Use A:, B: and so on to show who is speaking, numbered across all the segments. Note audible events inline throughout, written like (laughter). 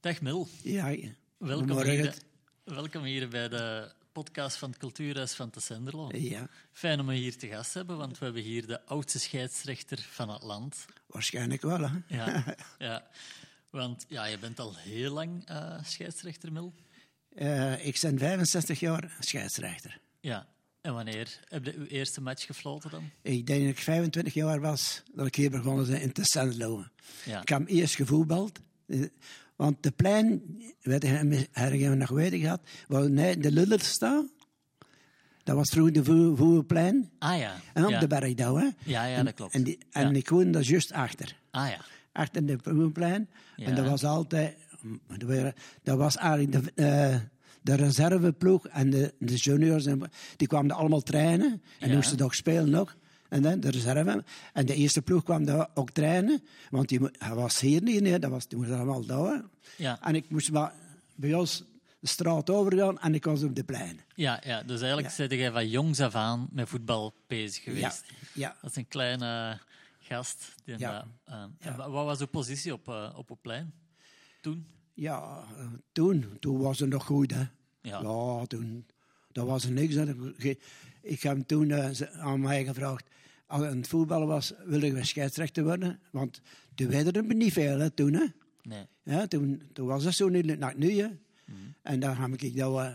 A: Dag Mil,
B: Ja, ja.
A: welkom
B: Goedemorgen.
A: hier, welkom hier bij de podcast van het Cultuurhuis van te Senderlo.
B: Ja,
A: Fijn om je hier te gast te hebben, want we hebben hier de oudste scheidsrechter van het land.
B: waarschijnlijk wel. Hè? (laughs)
A: Ja, ja. Want ja, je bent al heel lang eh, scheidsrechter, Mil.
B: Eh, ik ben 65 jaar scheidsrechter.
A: Ja. En wanneer heb je uw eerste match gefloten dan?
B: Ik denk dat ik 25 jaar was dat ik hier begonnen ben in te zandlopen.
A: Ja.
B: Ik heb eerst gevoetbald. eh, Want de plein, weet je, hebben we nog weten gehad, waar nee, de Lullet staan. Dat was vroeger de voer- voerplein.
A: Ah ja.
B: En op
A: ja.
B: de Bergdouw, hè.
A: Ja, ja,
B: En-
A: dat klopt.
B: En, die, en
A: Ja.
B: ik woonde daar juist achter.
A: Ah ja.
B: achter de Groenplein.
A: Ja.
B: En dat was altijd... dat waren- Dat was eigenlijk de, eh, de reserveploeg en de, de juniors. En, die kwamen er allemaal trainen. En
A: Ja.
B: moesten toch spelen ook. En dan de reserve. En de eerste ploeg kwam daar ook trainen. Want die, mo- hij was hier niet. Nee, dat was, die moest allemaal daar.
A: Ja.
B: En ik moest maar bij ons de straat overgaan. En ik was op de plein.
A: Ja, ja. Dus eigenlijk zit jij van jongs af aan met voetbal bezig
B: Ja,
A: geweest.
B: ja.
A: Dat is een kleine gast. Die
B: Ja.
A: dat, eh, en wa- Wat was uw positie op, eh, op het plein toen?
B: Ja, eh, toen, toen was het nog goed, hè.
A: Ja.
B: Ja, toen, dat was er niks. aan. Ik- Ik heb toen eh, ze- aan mij gevraagd, als het voetballen was, wilde ik weer scheidsrechter worden. Want toen werden er niet veel, hè, toen, hè.
A: Nee.
B: Ja, toen, toen was dat zo niet naar nu, hè. En dan heb ik dat, eh,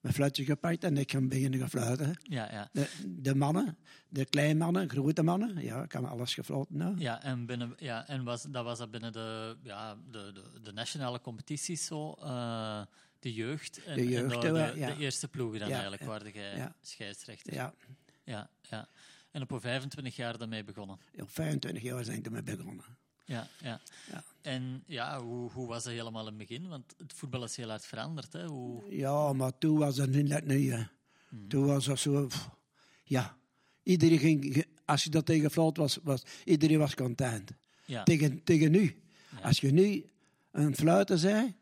B: mijn fluitje gepakt en ik ben beginnen te fluiten.
A: Ja, ja.
B: De, de mannen, de kleine mannen, grote mannen, ja, ik heb alles gefloten, nou.
A: Ja, en, binnen, ja, en was, dat was dat binnen de, ja, de, de, de nationale competities zo, eh, de jeugd en,
B: De
A: en
B: jeugd,
A: de,
B: hè,
A: de,
B: ja.
A: de eerste ploegen dan
B: Ja,
A: eigenlijk,
B: ja,
A: waar jij
B: ja.
A: scheidsrechter.
B: Ja,
A: Ja, ja. En op uw 25 jaar daarmee begonnen.
B: op 25 jaar zijn ik ermee begonnen.
A: Ja, ja.
B: Ja.
A: En ja, hoe, hoe was dat helemaal in het begin? Want het voetbal is heel hard veranderd. Hè? Hoe,
B: Ja, maar toen was het niet net nu. hè. Toen was dat zo... pff, ja, iedereen ging... ge- Als je dat tegen Vloot was, was... Iedereen was content.
A: ja,
B: Tegen, tegen nu. Als je nu een fluiter zei...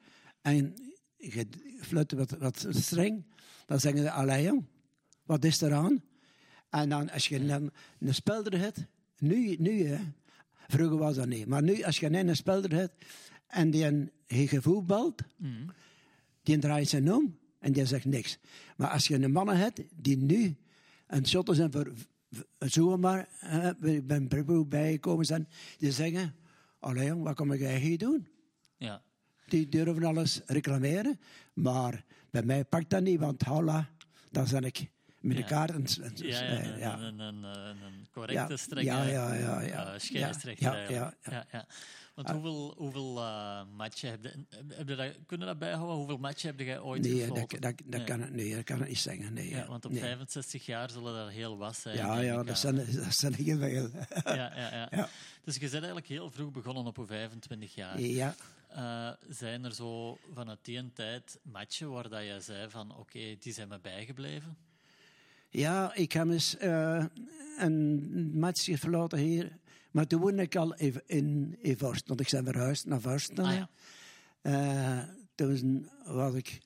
B: En je fluit wat, wat streng... Dan zeggen ze, allee jong, wat is er aan? En dan als je een, een spelder hebt... Nu, nu hè. Vroeger was dat niet. Maar nu, als je een spelder hebt... En die een, je gevoetbald... Die draait zijn om en die zegt niks. Maar als je een mannen hebt die nu een shotten zijn voor v- zomaar eh, bij- bij een Brabo bijgekomen zijn, die zeggen: Allee jong, wat kom jij hier doen?
A: ja,
B: Die durven alles reclameren. Maar bij mij pakt dat niet, want hola, dan ben ik met de
A: Ja.
B: kaart. en s- en s-
A: ja, ja,
B: eh,
A: een,
B: ja.
A: Een, een, een- een
B: Ja,
A: correcte,
B: ja,
A: strenge
B: ja, ja, ja.
A: eh,
B: Ja,
A: scheidsrechter.
B: ja,
A: eigenlijk.
B: ja, Ah.
A: Want hoeveel, hoeveel eh, matchen heb je... Heb, heb je dat, kunnen dat bijhouden? Hoeveel matchen heb jij ooit
B: Nee, dat,
A: gefloten?
B: dat, dat,
A: Nee.
B: kan het, nee, dat kan het niet zeggen. Nee,
A: Ja, want op
B: nee.
A: 65 jaar zullen er heel wat zijn.
B: Ja,
A: denk
B: ja,
A: ik, eh.
B: dat zijn, (laughs) dat zijn heel veel.
A: Ja, ja, ja.
B: (laughs) Ja.
A: Dus je bent eigenlijk heel vroeg begonnen op je 25 jaar.
B: Ja.
A: Eh, zijn er zo vanuit die tijd matchen waar dat je zei van oké, die zijn me bijgebleven?
B: Ja, ik heb eens eh, een match verloten hier. Maar toen woonde ik al in, in, in Vorst, want ik ben verhuisd naar Vorst.
A: Ah, ja.
B: Eh, toen was ik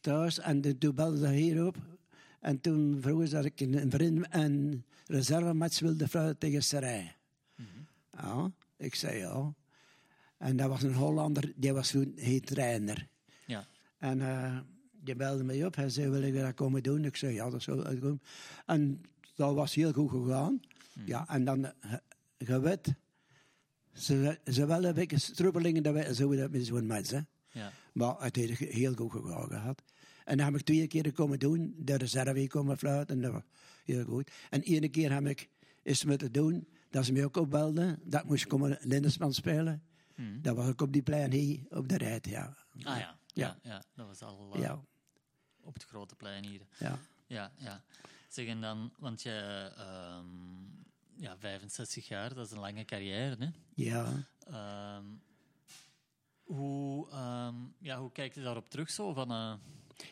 B: thuis en de- toen belde ze hier op. En toen vroegen ze dat ik een, een, vriend- een reservematch wilde fluiten tegen Serij.
A: Mhm.
B: Ja, ik zei ja. En dat was een Hollander, die was toen heet trainer.
A: Ja,
B: En eh die belde mij op. Hij zei, wil je dat komen doen? Ik zei, ja, dat zou wel komen. En dat was heel goed gegaan.
A: Hmm.
B: Ja, en dan, eh, je weet, ze, ze wel een beetje strubbelingen dat wij, zo dat met zo'n mens, hè.
A: ja,
B: Maar het heeft heel goed gegaan gehad. En dan heb ik twee keer komen doen, de reserve komen fluiten, en dat was heel goed. En ene keer heb ik iets moeten doen, dat ze mij ook opbelden, dat ik moest komen Lindesman spelen. Dat was ook op die plein hier, op de rijt, ja.
A: Hmm. ah, ja. Ja, ja, dat was al eh,
B: Ja,
A: op het grote plein hier.
B: ja.
A: Ja, ja. Zeg, en dan, want je, ehm, ja, 65 jaar, dat is een lange carrière, hè?
B: Ja.
A: Ehm, hoe, ehm, ja, hoe kijk je daarop terug zo? Van, eh,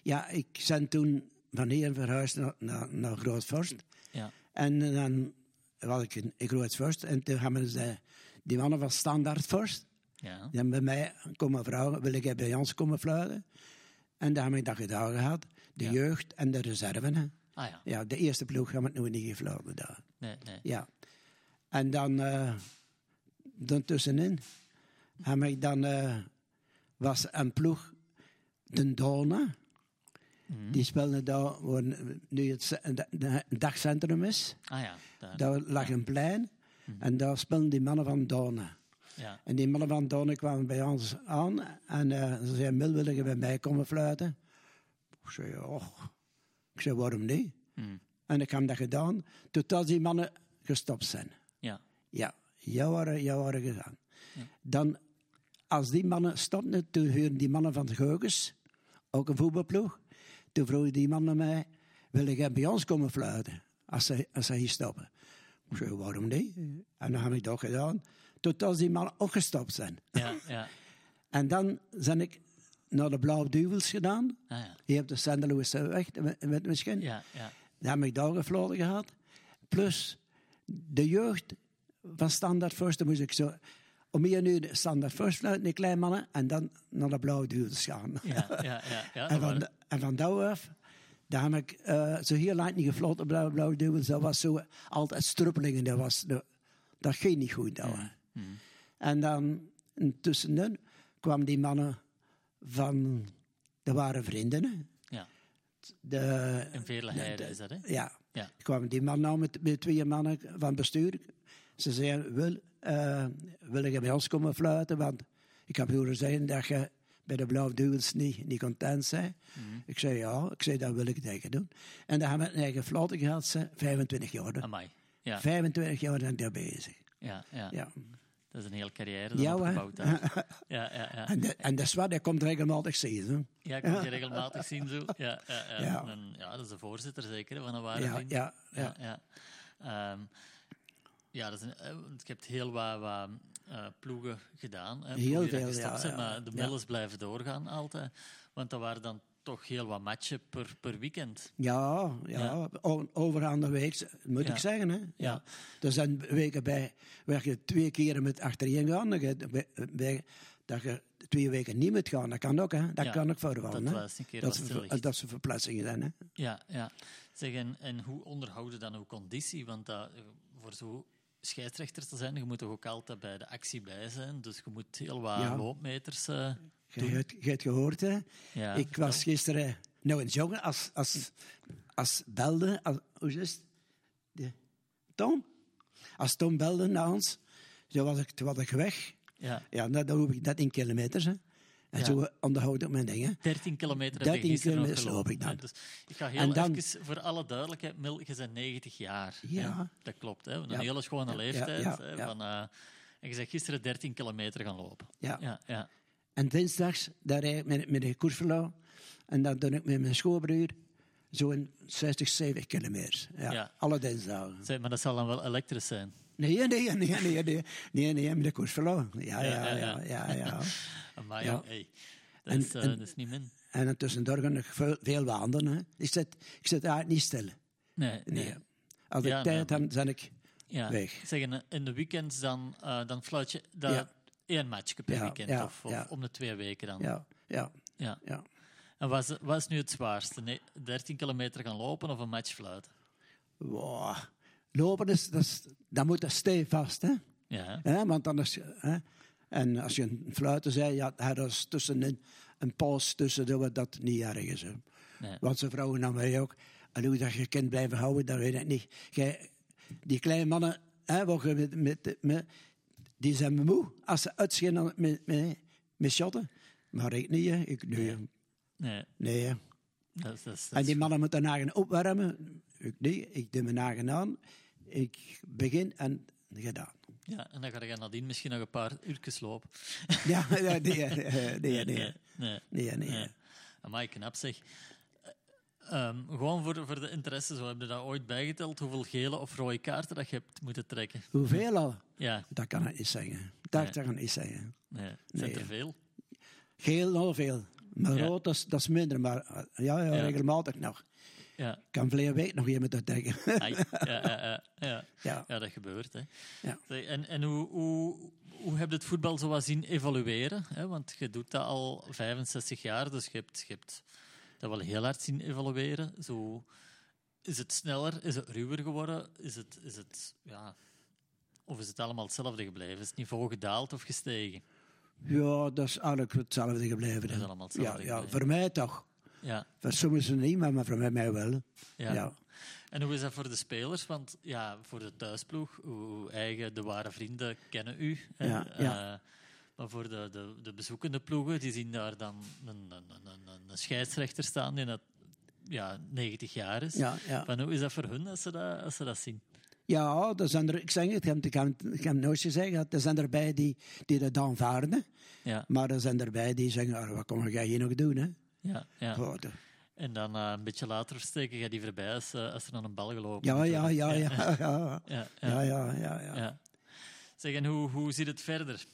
B: ja, ik ben toen van hier verhuisd naar, naar, naar Grootvorst.
A: ja,
B: En dan was ik in, in Grootvorst. En toen hebben ze die mannen van Standaardvorst.
A: ja,
B: Die hebben bij mij komen vragen, wil ik bij ons komen fluiten? En daar heb ik dat gedaan gehad. De
A: Ja.
B: jeugd en de reserve. hè.
A: ah ja,
B: Ja, de eerste ploeg hebben we nog niet gefloten daar.
A: nee, nee,
B: Ja. En dan, eh dan tussenin heb ik dan eh, was een ploeg, de Dona.
A: Mhm.
B: Die speelde daar waar nu het ce- de- de- dagcentrum is.
A: Ah ja, Mhm. daar.
B: Daar lag een plein en daar speelden die mannen van Dona.
A: ja.
B: En die mannen van Donen kwamen bij ons aan en eh, ze zeiden, Mil, willen je bij mij komen fluiten? Ik zei, ja, och. Ik zei, waarom niet?
A: Mhm.
B: En ik heb dat gedaan, totdat die mannen gestopt zijn.
A: ja.
B: Ja, jou waren, jou waren gedaan. Dan, als die mannen stopten, toen huurden die mannen van de Geukens, ook een voetbalploeg, toen vroegen die mannen mij, wil jij bij ons komen fluiten, als zij, als zij hier stoppen? Ik zei, waarom niet? En dan heb ik dat gedaan, totdat die mannen ook gestopt zijn.
A: Ja, ja.
B: En dan ben ik naar de Blauwe Duvels gedaan,
A: Ah, ja.
B: hier op de Sendelooseweg, met, met misschien.
A: Ja, ja.
B: Daar heb ik daar gefloten gehad. Plus de jeugd van Standard First. Dan moest ik zo om hier nu de Standard First fluiten, die kleine mannen. En dan naar de Blauwe Duurders gaan. (laughs)
A: Ja, ja, ja, ja.
B: en,
A: dat
B: van,
A: waren-
B: da- en van daar af, daar heb ik eh, zo heel lang niet gefloten op de Blauwe Duurders. Dat was zo altijd struppelingen. Dat, was, dat, dat ging niet goed. Dat was. En dan tussenin kwamen die mannen van... Dat waren vrienden, hè.
A: ja.
B: De,
A: In vele heiden is dat, hè?
B: ja,
A: Ja.
B: kwamen die man nou met, met twee mannen van bestuur. Ze zeiden, wil, eh, wil je bij ons komen fluiten? Want ik heb horen zeggen dat je bij de Blauw Duwels niet, niet content zijn. Ik zei, ja. Ik zei, dat wil ik tegen doen. En dan hebben we een eigen fluiten gehad, ze, 25 jaar.
A: Amai. Ah, Ja,
B: 25 jaar ben ik daar bezig.
A: ja, ja,
B: Ja.
A: Dat is een hele carrière
B: Ja,
A: dat
B: hoor.
A: opgebouwd daar.
B: (laughs)
A: Ja, ja, ja.
B: En, de, en de zwart, die komt regelmatig zien. hè.
A: Ja, ik moet je regelmatig zien zo. Ja, ja, ja.
B: Ja.
A: En, ja, dat is de voorzitter zeker hè, van een ware
B: Ja,
A: vriend.
B: ja,
A: ja.
B: ja.
A: ja. Ehm, ja, dat is een, eh, want je hebt heel wat, wat, eh, ploegen gedaan. Hè, ploegen die
B: veel,
A: dat gestapt
B: ja,
A: zijn,
B: ja.
A: Maar de
B: Ja.
A: middels blijven doorgaan altijd. Want dat waren dan toch heel wat matchen per, per weekend.
B: Ja, ja. O- Overhand week, moet
A: Ja.
B: ik zeggen. Hè? Ja.
A: Ja.
B: Er zijn weken bij waar je twee keren met achterin gaat. dan je- bij- bij- Dat je twee weken niet moet gaan, dat kan ook. Hè? Dat
A: Ja,
B: kan ook voor wel.
A: dat
B: hè.
A: was een keer
B: dat,
A: wat
B: ze
A: stil
B: ver-
A: ligt.
B: dat ze verplaatsingen zijn. Hè?
A: Ja, ja. Zeg, en, en hoe onderhouden dan uw conditie? Want dat, eh, voor zo scheidsrechter te zijn, je moet toch ook altijd bij de actie bij zijn. Dus je moet heel wat
B: Ja.
A: loopmeters... eh,
B: Je, hebt- je hebt gehoord, hè?
A: ja,
B: ik was gisteren nou een jongen als, als, als belde. Als, hoe is het? De- Tom? Als Tom belde naar ons, zo was ik, toen was ik weg.
A: ja.
B: Ja, dat, dat hoef ik net in kilometers. Hè. En
A: Ja.
B: zo onderhoud ik mijn dingen.
A: 13 kilometer
B: 13
A: heb je gisteren nog
B: kilometer
A: gelopen.
B: loop ik dan.
A: Ja, Dus ik ga heel
B: En dan-
A: even, voor alle duidelijkheid, Mil, je bent 90 jaar. hè?
B: Ja.
A: Dat klopt, hè? een
B: Ja.
A: hele schone
B: Ja,
A: leeftijd.
B: ja,
A: hè,
B: ja.
A: Van, eh, en je bent gisteren 13 kilometer gaan lopen.
B: Ja.
A: Ja, ja,
B: En dinsdags, daar rijd ik met, met de koersverlauw. En dat doe ik met mijn schoonbroer zo'n 60, 70 kilometer. Ja,
A: Ja.
B: Alle dinsdagen.
A: Zeg, maar dat zal dan wel elektrisch zijn.
B: Nee, nee, nee, nee, nee, nee, nee, met de koersverlauw. Ja,
A: Ja,
B: ja, ja,
A: ja,
B: ja. ja,
A: Maar
B: Ja.
A: hey, dat,
B: En-
A: is, eh,
B: en-
A: dat is niet min.
B: En dan tussendoor ga ik veel, veel wandelen. Hè. Ik, zit, ik zit eigenlijk niet stil.
A: Nee,
B: Nee.
A: nee.
B: Als ik
A: Ja,
B: tijd heb, ben ik...
A: Ja.
B: Weg.
A: Zeg, en, eh, in de weekends dan, eh, dan fluit je dat
B: Ja.
A: één matchje per
B: Ja,
A: weekend.
B: ja,
A: of of
B: ja.
A: om de twee weken dan.
B: Ja, ja,
A: Ja.
B: ja.
A: En wat is, wat is nu het zwaarste? Nee, 13 kilometer gaan lopen of een match fluiten?
B: Wow. Lopen, is, dat, is, dat moet dat stevast, hè.
A: Ja, hè?
B: Hè, want anders... Hè? En als je een fluiten zei, ja, er is tussen een, een pauze tussen, dat dat niet erg is. Hè.
A: Nee.
B: Want ze vragen aan mij ook, en hoe dat je kind blijven houden, dat weet ik niet. Jij, die kleine mannen, hè, wat je met, met, met- die zijn moe als ze uitschijnen met, met, met shotten. Maar ik niet, hè. Ik, nee, hè.
A: Nee,
B: nee hè.
A: dat is... Dat is-
B: En die mannen moeten hun eigen opwarmen. Ik niet, ik doe mijn eigen aan. Ik begin en gedaan.
A: Ja, en dan ga je nadien misschien nog een paar uurtjes lopen.
B: Ja, (laughs) ja, nee, eh,
A: Nee,
B: nee, nee.
A: nee.
B: Nee, nee.
A: nee. Amai, knap zeg. Eh, ehm, gewoon voor, voor de interesse, zo heb je dat ooit bijgeteld, hoeveel gele of rode kaarten dat je hebt moeten trekken?
B: Hoeveel al?
A: Ja,
B: Dat kan ik niet zeggen. Dat kan ik niet zeggen.
A: nee. Zijn
B: Nee.
A: er veel?
B: Geel al veel. Maar
A: Ja.
B: rood, dat is, dat is minder. Maar eh, ja, ja,
A: Ja.
B: regelmatig nog. (laughs)
A: Ja.
B: Ik kan vleer week nog iemand dat denken. (laughs)
A: Ai, ja, ja, ja, ja.
B: ja.
A: ja, dat gebeurt. Hè.
B: Ja.
A: Zeg, En, en hoe, hoe, hoe heb je het voetbal zo wat zien evolueren? Hè? Want je doet dat al 65 jaar, dus je hebt, je hebt dat wel heel hard zien evolueren. Zo, is het sneller? Is het ruwer geworden? Is het, is het, ja, of is het allemaal hetzelfde gebleven? Is het niveau gedaald of gestegen?
B: Ja, dat is eigenlijk hetzelfde gebleven.
A: Dat is
B: hè.
A: allemaal
B: ja,
A: hetzelfde
B: ja,
A: gebleven.
B: voor mij toch.
A: Ja,
B: Voor sommigen niet, maar maar voor mij, mij wel.
A: ja.
B: ja.
A: En hoe is dat voor de spelers? Want ja, voor de thuisploeg, uw eigen, de ware vrienden kennen u. hè.
B: Ja, ja.
A: Eh, maar voor de, de, de bezoekende ploegen, die zien daar dan een, een, een, een, een scheidsrechter staan die dat ja, 90 jaar is.
B: Ja, ja.
A: Maar hoe is dat voor hun als ze dat, als ze dat zien?
B: Ja, dat zijn er, ik zeg het, ik heb, ik heb, ik heb nooit gezegd, dat er zijn erbij die, die dat aanvaarden.
A: Ja,
B: Maar er zijn erbij die zeggen, "Ah, wat kom jij hier nog doen? Hè?
A: ja, ja.
B: Goh, dat-
A: En dan eh, een beetje later steken je die voorbij als, eh, als er dan een bal gelopen
B: Ja,
A: wordt
B: ja,
A: worden.
B: ja, (laughs) ja, ja.
A: ja, ja,
B: Ja, ja, ja, ja.
A: ja. Zeg, en hoe, hoe zit het verder?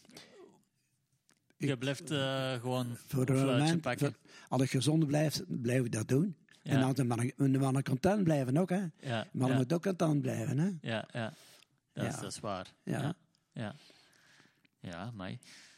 A: Je
B: Ik-
A: blijft eh, gewoon
B: Voor
A: een
B: een
A: fluitje
B: moment,
A: pakken.
B: voor- als ik gezond blijf, blijf ik dat doen. En als de mannen, de mannen content blijven ook, hè.
A: Ja,
B: Maar
A: ja,
B: moet ook content blijven, hè.
A: ja, ja. Dat, Is,
B: Ja.
A: dat is waar.
B: Ja.
A: ja. Ja, ja maar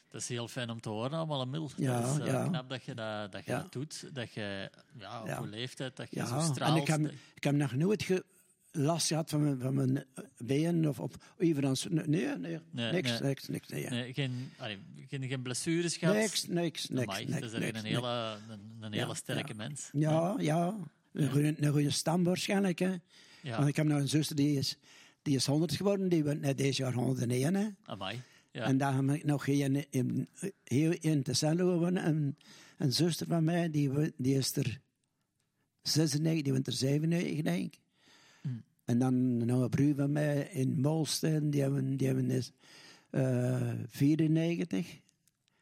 A: dat is heel fijn om te horen allemaal, Emil.
B: Ja,
A: dat is eh,
B: ja.
A: knap dat je dat, dat, je
B: Ja.
A: dat doet. Dat je ja, op
B: Ja.
A: je leeftijd dat je zo
B: Ja, en
A: straalt.
B: ik heb,
A: dat-
B: ik heb nog nooit ge- last gehad van mijn, van mijn benen of, of evenals... Nee, nee,
A: Nee,
B: niks,
A: nee.
B: niks, niks, nee, ja.
A: nee, geen, allee, geen, geen blessures gehad.
B: niks, niks, niks,
A: Amai,
B: niks,
A: dat is echt
B: niks,
A: een hele, een, een hele sterke
B: ja.
A: mens.
B: Ja, ja. Een goede, een goede stam waarschijnlijk. Hè.
A: Ja,
B: Want ik heb nog een zus die is, die is 100 geworden, die wordt net deze jaar 101. Hè.
A: amai. Ja.
B: En daar heb ik nog geen, in, heel in te Cello gewonnen. En een zuster van mij, die, wo- die is er 96, die wordt er 97, denk ik.
A: Mm.
B: En dan een oude broer van mij in Molsten, die hebben, die hebben is, eh, 94.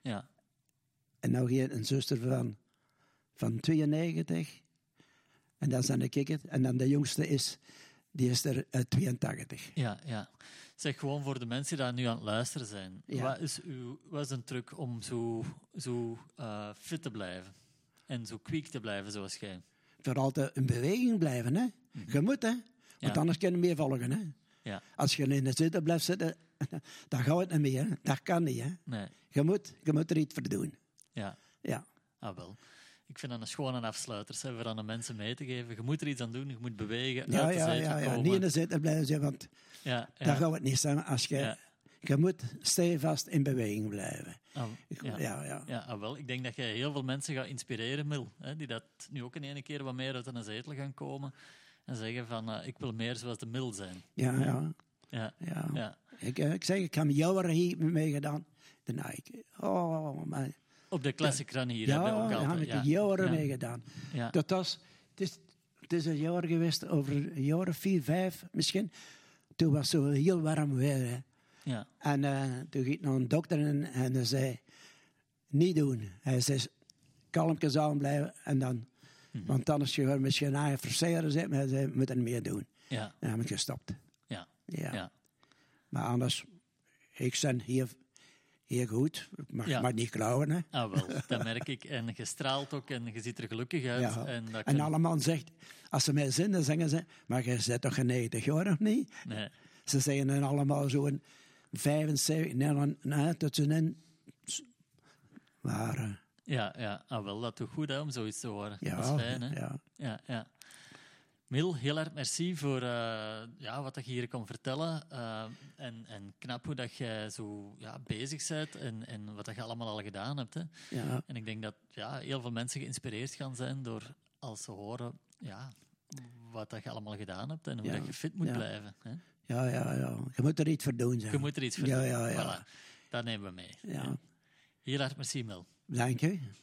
A: ja.
B: En nou hier een zuster van, van 92. En dat is dan de kikker. En dan de jongste is, die is er eh, 82.
A: Ja, ja. Zeg gewoon voor de mensen die daar nu aan het luisteren zijn.
B: Ja.
A: Wat, is uw, wat is een truc om zo, zo eh, fit te blijven? En zo kwiek te blijven zoals jij?
B: Voor altijd in beweging blijven, hè. Je moet, hè. Want
A: Mm-hmm. Ja.
B: anders kan je niet meer volgen, hè.
A: Ja,
B: Als je in de zitten blijft zitten, (laughs) dan gaat het niet meer, hè. Dat kan niet, hè.
A: nee.
B: Je moet, je moet er iets voor doen.
A: Ja,
B: Ja.
A: ah wel. Ik vind dat een schone afsluiter, hè, voor aan de mensen mee te geven. Je moet er iets aan doen, je moet bewegen,
B: Ja,
A: uit de
B: ja,
A: zetel
B: ja, ja.
A: komen.
B: Niet in de zitten blijven zitten, want
A: Ja, ja.
B: daar gaat het niet zijn. Als je,
A: Ja.
B: je moet stevast in beweging blijven.
A: Ah,
B: Ik-
A: ja.
B: ja. ja.
A: Ja, ah, wel. Ik denk dat jij heel veel mensen gaat inspireren, Mil. Hè, die dat nu ook in ene keer wat meer uit een zetel gaan komen. En zeggen van, eh, ik wil meer zoals de Mil zijn.
B: ja, ja.
A: Ja,
B: ja.
A: ja.
B: Ik, eh, ik zeg, ik heb jaren hier meegedaan. Daarna ik, oh, maar,
A: Op de classic run hier
B: ja,
A: hebben we ook
B: daar heb
A: altijd.
B: ik
A: Ja,
B: jaren
A: ja.
B: meegedaan.
A: Ja.
B: Dat was, het is, het is een jaar geweest, over een jaar of vier, vijf misschien. Toen was het zo heel warm weer. hè.
A: Ja.
B: En eh, toen ging ik naar een dokter en, en hij zei, niet doen. Hij zei, kalmpjes aanblijven en dan...
A: Mhm.
B: Want anders je misschien aan je verzekeren zit, maar hij zei, moet er meer doen.
A: Ja.
B: En dan heb ik gestopt.
A: Ja.
B: Ja.
A: Ja.
B: Maar anders, ik ben hier, hier goed. Ik mag
A: Ja.
B: maar niet klauwen. Hè.
A: Ah, wel. Dat merk ik. En je straalt ook en je ziet er gelukkig uit. En
B: Ja. En,
A: dat kan...
B: allemaal zegt, als ze mij zien, dan zeggen ze... Maar jij bent toch geen 90 jaar, of niet?
A: Nee.
B: Ze zeggen dan allemaal zo'n 75... Nee, dan, nee, tot ze eh, een... waren.
A: Ja, ja. Ah, wel. Dat doet goed hè, om zoiets te horen.
B: Ja,
A: dat is fijn, hè?
B: ja.
A: Ja, ja. Mil, heel erg merci voor eh, ja, wat dat je hier kon vertellen. Eh, en, en knap hoe dat jij zo ja, bezig bent en, en wat dat je allemaal al gedaan hebt. Hè.
B: ja.
A: En ik denk dat ja, heel veel mensen geïnspireerd gaan zijn door als ze horen ja, wat dat je allemaal gedaan hebt en hoe
B: Ja,
A: dat je fit moet
B: ja.
A: blijven. Hè.
B: Ja, ja, ja. Je moet er iets voor doen, zeg.
A: Je moet er iets voor
B: Ja,
A: doen.
B: ja, ja.
A: Voilà, dat nemen we mee.
B: Ja,
A: Heel erg merci, Mil.
B: dank je.